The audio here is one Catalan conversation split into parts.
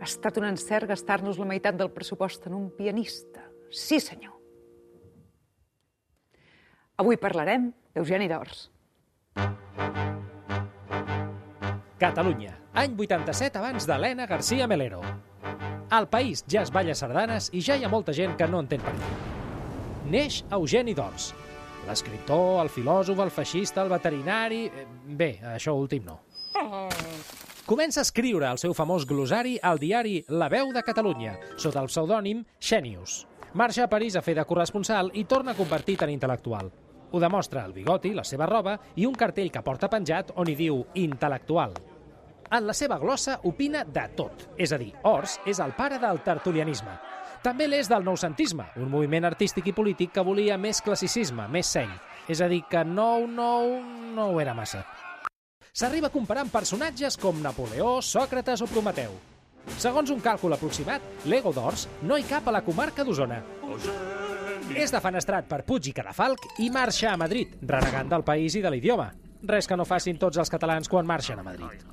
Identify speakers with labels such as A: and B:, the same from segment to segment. A: Ha estat un encert gastar-nos la meitat del pressupost en un pianista. Sí, senyor. Avui parlarem d'Eugeni d'Ors.
B: Catalunya, any 87 abans d'Helena García Melero. Al país ja es balla sardanes i ja hi ha molta gent que no entén per què. Neix Eugeni d'Ors, l'escriptor, el filòsof, el feixista, el veterinari... eh, Bé, això últim no. Comença a escriure el seu famós glosari al diari La Veu de Catalunya, sota el pseudònim Xenius. Marxa a París a fer de corresponsal i torna convertit en intel·lectual. Ho demostra el bigoti, la seva roba i un cartell que porta penjat on hi diu «intel·lectual». En la seva glossa opina de tot, és a dir, Ors és el pare del tertulianisme. També l'és del noucentisme, un moviment artístic i polític que volia més classicisme, més seny. És a dir, que nou-nou no ho era massa s'arriba a comparar amb personatges com Napoleó, Sòcrates o Prometeu. Segons un càlcul aproximat, l'Ego d'Ors no hi cap a la comarca d'Osona. És defenestrat per Puig i Cadafalc i marxa a Madrid, renegant del país i de l'idioma. Res que no facin tots els catalans quan marxen a Madrid.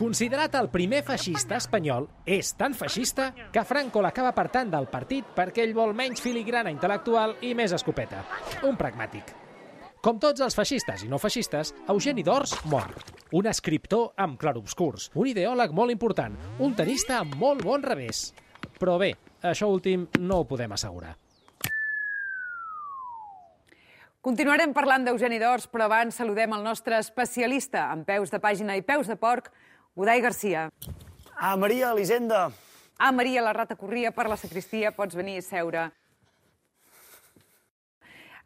B: Considerat el primer feixista espanyol, és tan feixista que Franco l'acaba apartant del partit perquè ell vol menys filigrana intel·lectual i més escopeta. Un pragmàtic. Com tots els feixistes i no feixistes, Eugeni d'Ors mor. Un escriptor amb clarobscurs, un ideòleg molt important, un tenista amb molt bon revés. Però bé, això últim no ho podem assegurar.
A: Continuarem parlant d'Eugeni d'Ors, però abans saludem el nostre especialista en peus de pàgina i peus de porc, Godai Garcia.
C: Ah, Maria Elisenda.
A: Ah, Maria, la rata corria per la sacristia, pots venir a seure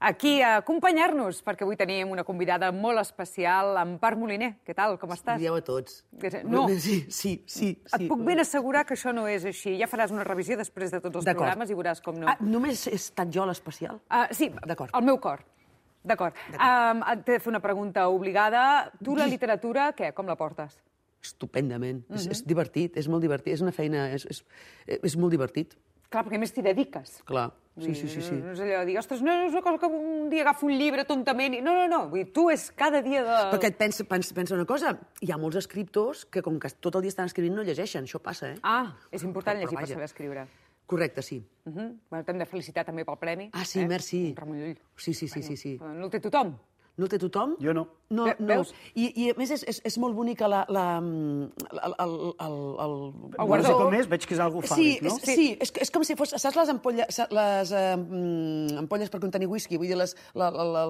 A: aquí a acompanyar-nos, perquè avui tenim una convidada molt especial, Empar Moliner. Què tal, com estàs?
D: Dieu a tots.
A: No,
D: Sí, sí, sí. sí.
A: et puc ben assegurar que això no és així. Ja faràs una revisió després de tots els
D: D'acord.
A: programes i veuràs com no.
D: Ah, només és tant jo l'especial?
A: Ah, sí,
D: D'acord.
A: el meu cor. D'acord. Um, et he de fer una pregunta obligada. Tu la literatura, què, com la portes?
D: Estupendament.
A: Mhm.
D: és, és divertit, és molt divertit. És una feina... És, és, és molt divertit,
A: Clar, perquè a més t'hi dediques.
D: clar. Sí,
A: Vull
D: sí,
A: dir,
D: sí.
A: no-
D: sí.
A: No és allò de dir, ostres, no, no és una cosa que un dia agafo un llibre tontament... i- No, no, no, vull dir, tu és cada dia de...
D: Perquè et pensa, pensa, pensa una cosa, hi ha molts escriptors que com que tot el dia estan escrivint no llegeixen, això passa, eh?
A: Ah, és important
D: Però-
A: llegir
D: però
A: per
D: vaja.
A: saber escriure.
D: Correcte, sí.
A: Uh -huh. bueno, T'hem de felicitar també pel premi. eh?
D: Ah, sí, merci.
A: Ramon Llull.
D: Sí, sí, sí, sí, sí.
A: No el té tothom.
D: No el té tothom?
C: Jo no.
D: No,
A: Ve-
D: no.
A: veus?
D: I, I a més és, és, és molt bonica la... la, la el, el, el, el,
A: El
C: No
A: guardó.
C: sé com és, veig que és algo
D: Sí,
C: fàl·lic,
D: és,
C: no?
A: Sí.
D: sí. sí és, és com si fos... Saps les, ampolla, sa- les eh, mm, ampolles per contenir whisky? Vull dir, les, la, la, la,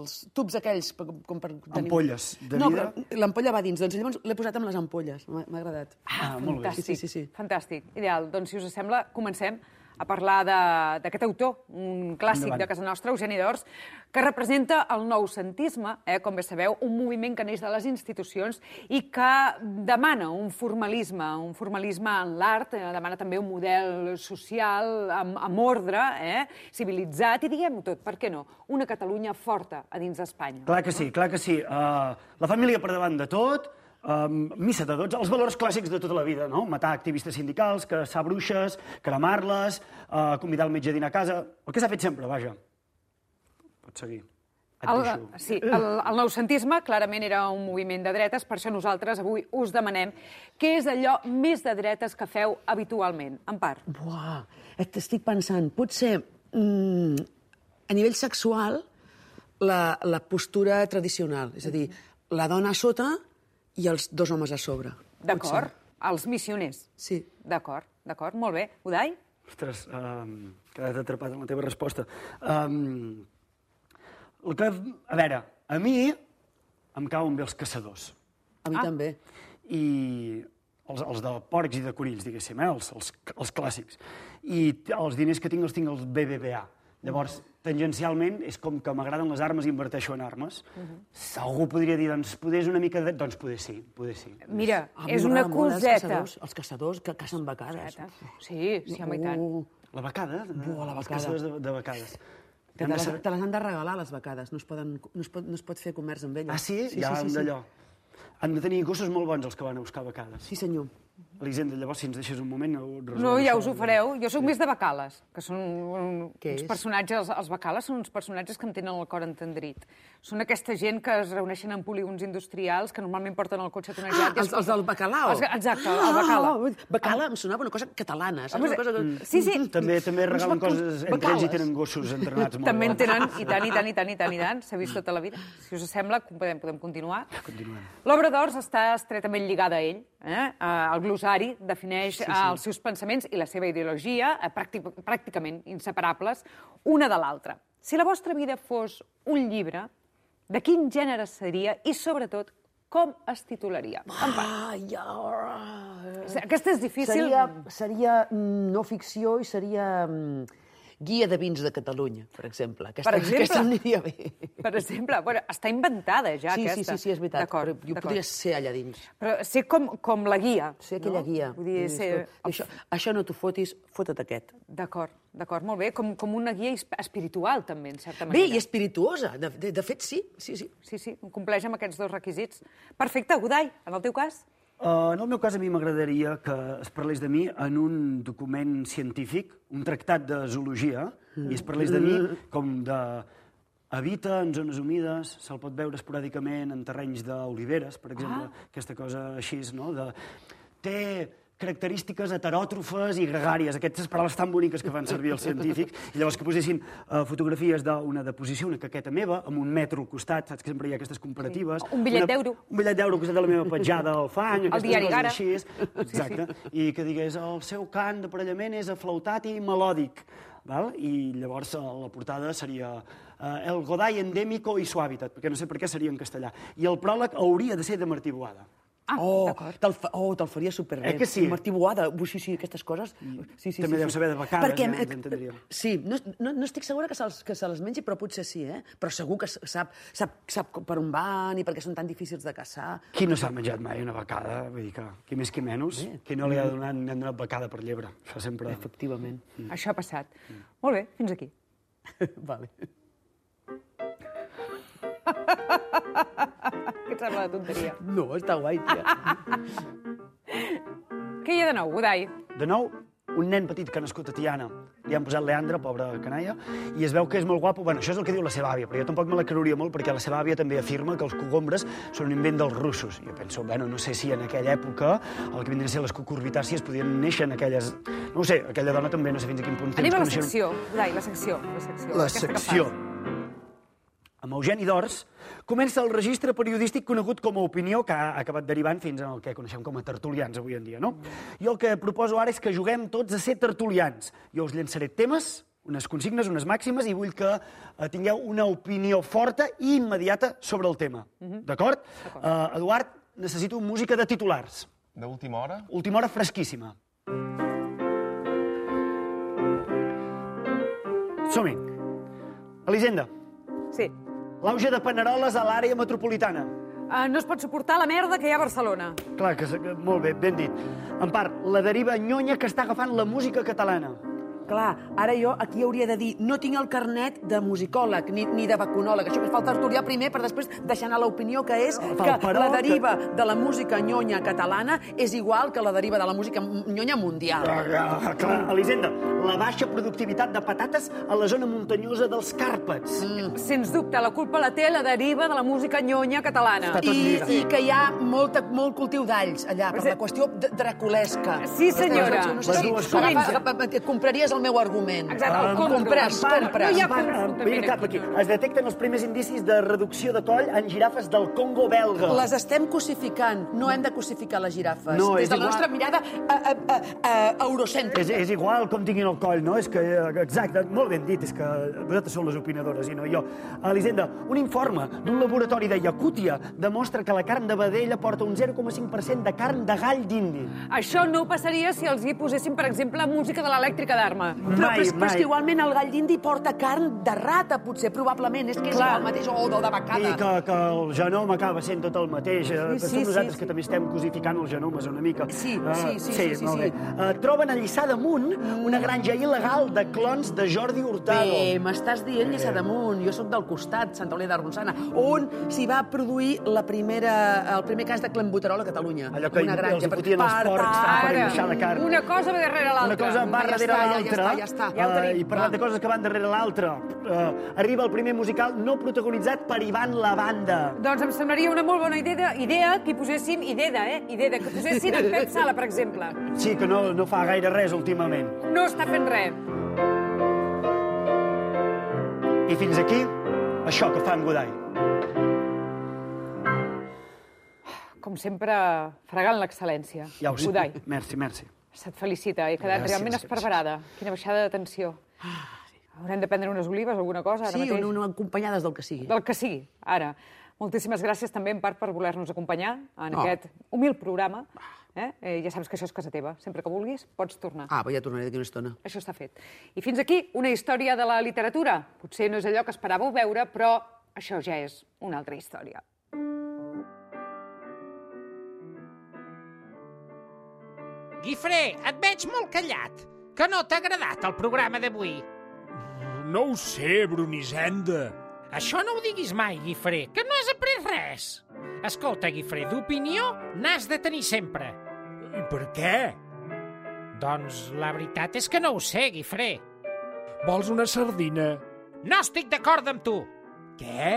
D: els tubs aquells per, com per contenir...
C: Ampolles de
D: no,
C: vida?
D: però l'ampolla va dins. Doncs llavors l'he posat amb les ampolles. M'ha m'ha agradat.
C: Ah, molt bé.
A: Fantàstic,
D: Sí, sí, sí.
A: fantàstic. Ideal. Doncs, si us sembla, comencem a parlar de- d'aquest autor, un clàssic
C: Endavant.
A: de casa nostra, Eugeni d'Ors, que representa el noucentisme, eh, com bé sabeu, un moviment que neix de les institucions i que demana un formalisme, un formalisme en l'art, eh, demana també un model social amb, amb ordre, eh, civilitzat, i diguem-ho tot, per què no? Una Catalunya forta a dins d'Espanya.
C: Clar que sí, clar que sí. Uh, la família per davant de tot, um, missa de tots, els valors clàssics de tota la vida, no? Matar activistes sindicals, caçar bruixes, cremar-les, uh, convidar el metge a dinar a casa... El que s'ha fet sempre, vaja. Pots seguir. Et
A: El,
C: deixo.
A: sí, el, el noucentisme clarament era un moviment de dretes, per això nosaltres avui us demanem què és allò més de dretes que feu habitualment, en part.
D: Buah, et estic pensant. Potser, mm, a nivell sexual, la, la postura tradicional. És a dir,
A: Mm.
D: la dona a sota i els dos homes a sobre.
A: D'acord? Els missioners.
D: Sí.
A: D'acord, d'acord, molt bé. Udai?
C: Ostres, um, he quedat atrapat en la teva resposta. Um, el que, a veure, a mi em cauen bé els caçadors.
D: A
A: Ah.
D: mi també.
C: i els, els de porcs i de conills, diguéssim, eh? els, els, els clàssics. I t- els diners que tinc els tinc als BBVA. Llavors, tangencialment, és com que m'agraden les armes i inverteixo en armes. Algú podria dir, doncs, poder és una mica de... Doncs poder sí, poder sí.
A: Mira,
D: A mi
A: és una
D: m'agraden Ah, molt els
A: coseta.
D: caçadors- Els caçadors que cacen becades.
A: Sí, sí, home, i tant.
D: Uh,
C: La becada? de-
D: Buah, la
C: els
D: becada.
C: caçadors de, de becades.
D: que
C: Hem
D: te
C: de
D: les,
C: saber-
D: te les han de regalar, les becades. No es, poden, no es, pot, no es pot fer comerç amb elles.
C: Ah, sí? ja, sí, sí, d'allò. Han de tenir gossos molt bons els que van a buscar becades.
D: Sí, senyor.
C: Elisenda, llavors, si ens deixes un moment... ho resolem
A: No, ja
C: això.
A: us ho fareu. Jo sóc més de Bacales, que són un,
D: Què
A: uns
D: és?
A: personatges... Els Bacales són uns personatges que em tenen el cor entendrit. Són aquesta gent que es reuneixen en polígons industrials, que normalment porten el cotxe
D: Ah,
A: tonejat... i es-
D: els, els del bacalao.
A: Els- exacte, el Bacala.
D: Ah, bacala em sonava una cosa catalana, saps?
A: Home, mm.
D: Una cosa que...
A: sí, sí.
C: Mm, També també
D: Uns
C: regalen
D: bacals-
C: coses entre ells i
D: bacales.
C: tenen gossos entrenats molt
A: També en
C: bons.
A: tenen, i tant, i tant, i tant, i tant, i tant. S'ha vist tota la vida. Si us sembla, podem, podem continuar.
C: Continuem.
A: L'obra d'Ors està estretament lligada a ell. Eh? Eh, El glossari defineix sí, sí. els seus pensaments i la seva ideologia eh, pràctic, pràcticament inseparables una de l'altra. Si la vostra vida fos un llibre, de quin gènere seria i, sobretot, com es titularia?
E: Ah, ja...
A: Aquesta és difícil.
D: Seria, seria mm, no ficció i seria mm, guia de vins de Catalunya, per exemple. Aquesta,
A: Per exemple?
D: Aquesta aniria bé.
A: Per exemple, bueno, està inventada ja,
D: sí,
A: Ah, aquesta.
D: sí, sí, sí, és veritat.
A: D'acord,
D: Però jo
A: d'acord.
D: podria ser allà dins.
A: Però ser com, com la guia.
D: Ser aquella
A: no?
D: guia.
A: Vull dir,
D: Dius,
A: ser...
D: "Escolta, Això, això no t'ho fotis, fota't aquest.
A: D'acord, d'acord, molt bé. Com, com una guia esp- espiritual, també, en certa
D: Bé,
A: manera.
D: i espirituosa. De, de, de fet, sí, sí, sí.
A: Sí, sí, compleix amb aquests dos requisits. Perfecte, Godai, en el teu cas?
C: Uh, en el meu cas, a mi m'agradaria que es parlés de mi en un document científic, un tractat de zoologia, i es parlés de mi com de... Habita en zones humides, se'l pot veure esporàdicament en terrenys d'oliveres, per
A: Ah.
C: exemple, aquesta cosa així, no? De... Té característiques heteròtrofes i gregàries, aquestes paraules tan boniques que fan servir els científics, i llavors que posessin uh, fotografies d'una deposició, una caqueta meva, amb un metro al costat, saps que sempre hi ha aquestes comparatives.
A: Un bitllet
C: Una-
A: d'euro.
C: un bitllet d'euro que és de la meva petjada al fang, aquestes
A: diari
C: coses
A: Gara.
C: així. Exacte. I que digués, el seu cant d'aparellament és aflautat i melòdic. Val? I llavors eh, la portada seria eh, El Godai endémico i su hábitat, perquè no sé per què seria en castellà. I el pròleg hauria de ser de Martí Boada.
A: Ah,
D: oh,
A: d'acord.
D: te'l fa, oh, te'l faria superbé.
C: Eh que sí?
D: Martí Boada, ui, sí, sí, aquestes coses... Sí, sí,
C: També
D: sí,
C: deu
D: sí.
C: saber de becades,
D: Perquè,
C: ja ens
D: eh,
C: entendríem.
D: Sí, no, no, no estic segura que se'ls que se les mengi, però potser sí, eh? Però segur que s- sap, sap, sap com- per on van i per què són tan difícils de caçar.
C: Qui no s'ha menjat mai una becada? Vull dir que, qui més, qui menys. Qui no li ha donat, li han donat becada per llebre. Això sempre...
D: Efectivament.
A: Això ha passat. Molt bé, fins aquí.
D: vale.
A: Què et sembla la tonteria?
D: No, està guai, tia.
A: Què hi ha de nou, Godai?
C: De nou, un nen petit que ha nascut a Tiana, li han posat Leandre, pobre canalla, i es veu que és molt guapo. Bueno, això és el que diu la seva àvia, però jo tampoc me la creuria molt perquè la seva àvia també afirma que els cogombres són un invent dels russos. Jo penso, bueno, no sé si en aquella època el que vindria a ser les cucurbitàcies podien néixer en aquelles... No ho sé, aquella dona també no sé fins a quin punt... té
A: Anem a la
C: desconeixement.
A: secció, Godai, la secció. La secció.
C: La
A: Aquesta que
C: secció.
A: fas.
C: Amb Eugeni d'Ors comença el registre periodístic conegut com a opinió, que ha acabat derivant fins en el que coneixem com a tertulians avui en dia, no? Jo el que proposo ara és que juguem tots a ser tertulians. Jo us llançaré temes, unes consignes, unes màximes, i vull que eh, tingueu una opinió forta i immediata sobre el tema. Mhm. D'acord? Eh, Eduard, necessito música de titulars.
F: D'última hora?
C: Última hora fresquíssima. Som-hi. Elisenda,
A: Sí.
C: l'auge de Paneroles a l'àrea metropolitana.
A: Uh, no es pot suportar la merda que hi ha a Barcelona.
C: Clar, que, s- que molt bé, ben dit. En part, la deriva nyonya que està agafant la música catalana.
D: Clar, ara jo aquí hauria de dir no tinc el carnet de musicòleg ni, ni de vacunòleg. Això que falta tertuliar primer per després deixar anar l'opinió que és
C: Fa
D: que
C: però
D: la
C: que-
D: deriva de la música nyonya catalana és igual que la deriva de la música nyonya mundial.
C: Ah, clar, Elisenda, la baixa productivitat de patates a la zona muntanyosa dels Càrpats. Mm.
A: Sens dubte, la culpa la té la deriva de la música nyonya catalana.
C: Està tot
D: I,
C: lligat.
D: I que hi ha molta, molt cultiu d'alls allà, per
A: Sí.
D: la qüestió d- draculesca.
A: Sí, senyora.
D: No sé
C: Les
D: si-
C: dues
D: Agafa-
C: coses.
D: agafa- et Compraries el meu argument.
A: Exacte, el
D: Ah,
A: compro,
D: Compres,
A: el compro.
D: compres.
A: No hi ha
C: Van,
A: com-
C: eh, mira cap aquí. Es detecten els primers indicis de reducció de coll en girafes del Congo belga.
D: Les estem cosificant. No hem de cosificar les girafes.
C: No, és
D: Des de la
C: igual.
D: nostra mirada eh, a, a, a, a eurocèntrica.
C: És, és igual com tinguin el coll, no? És que, eh, exacte, molt ben dit, és que vosaltres sou les opinadores i no jo. Elisenda, un informe d'un laboratori de Yakútia demostra que la carn de vedella porta un 0,5% de carn de gall d'indi.
A: Això no passaria si els hi posessin, per exemple, música de l'elèctrica d'arma. home.
D: Però, però, és,
C: Mai,
D: però és
C: mai.
D: que igualment el gall d'indi porta carn de rata, potser, probablement. És que és
A: Clar.
D: el mateix, o de, de
C: I que,
D: becada.
C: que el genoma acaba sent tot el mateix. Sí,
D: sí,
C: sí, Som
D: sí,
C: nosaltres
D: sí.
C: sí, que també estem cosificant els genomes una mica.
D: Sí,
C: Eh,
D: sí, sí, sí, sí,
C: molt
D: sí.
C: bé. Eh, troben a Lliçà d'Amunt una granja il·legal de clons de Jordi Hurtado.
D: Bé, m'estàs dient Lliçà
C: Eh.
D: d'Amunt, jo sóc del costat, Santa Eulàlia de Ronçana, on s'hi va produir la primera, el primer cas de clenbuterol a Catalunya.
C: Allò que
D: en una
C: hi-
D: granja,
C: els hi
D: per-
C: fotien els
D: per
C: porcs, ah,
D: tant,
C: per
A: Ara,
C: deixar de carn.
A: una cosa va darrere
C: Una
A: l'altra.
C: cosa va
D: ja
C: darrere
D: està, ja
C: l'altra.
D: està, ja està. Ja ho
C: eh,
D: tenim,
C: I parlant
D: va.
C: de coses que van darrere l'altra. eh, arriba el primer musical no protagonitzat per Ivan Lavanda.
A: Doncs em semblaria una molt bona idea, idea que hi posessin... Idea, eh? Idea, que posessin en Pep Sala, per exemple.
C: Sí, que no, no fa gaire res últimament.
A: No està fent res.
C: I fins aquí, això que fa en Godai.
A: Com sempre, fregant l'excel·lència.
C: Ja ho sé.
A: Udai,
C: Merci, merci.
A: se't felicita. He quedat
C: Gràcies,
A: realment
C: gràcies.
A: esparverada. Quina baixada de tensió. Haurem de prendre unes olives o alguna cosa ara
D: Sí,
A: mateix?
D: un, un, acompanyades del que sigui.
A: Del que sigui, ara. Moltíssimes gràcies també, en part, per voler-nos acompanyar en
D: No.
A: aquest humil programa. Eh? Eh, ja saps que això és casa teva. Sempre que vulguis, pots tornar.
D: Ah, però ja tornaré d'aquí una estona.
A: Això està fet. I fins aquí una història de la literatura. Potser no és allò que esperàveu veure, però això ja és una altra història.
B: Guifré, et veig molt callat. Que no t'ha agradat el programa d'avui.
G: No ho sé, Brunisenda.
B: Això no ho diguis mai, Guifré, que no has après res. Escolta, Guifré, d'opinió n'has de tenir sempre.
G: I per què?
B: Doncs la veritat és que no ho sé, Guifré.
G: Vols una sardina?
B: No estic d'acord amb tu.
G: Què?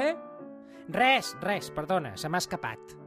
B: Res, res, perdona, se m'ha escapat.